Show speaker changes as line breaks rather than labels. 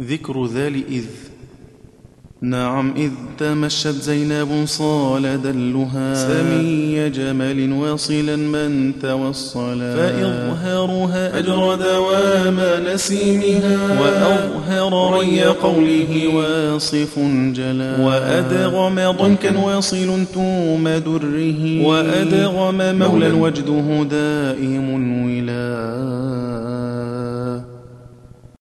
ذكر ذا لإذ نعم إذ تمشت زينب صال دلها سمي جمل واصلا من توصلا فإظهارها أجر دوام نسيمها وأظهر ري قوله واصف جلا وأدغم ضنكا واصل توم دره وأدغم مولا وجده دائم ولا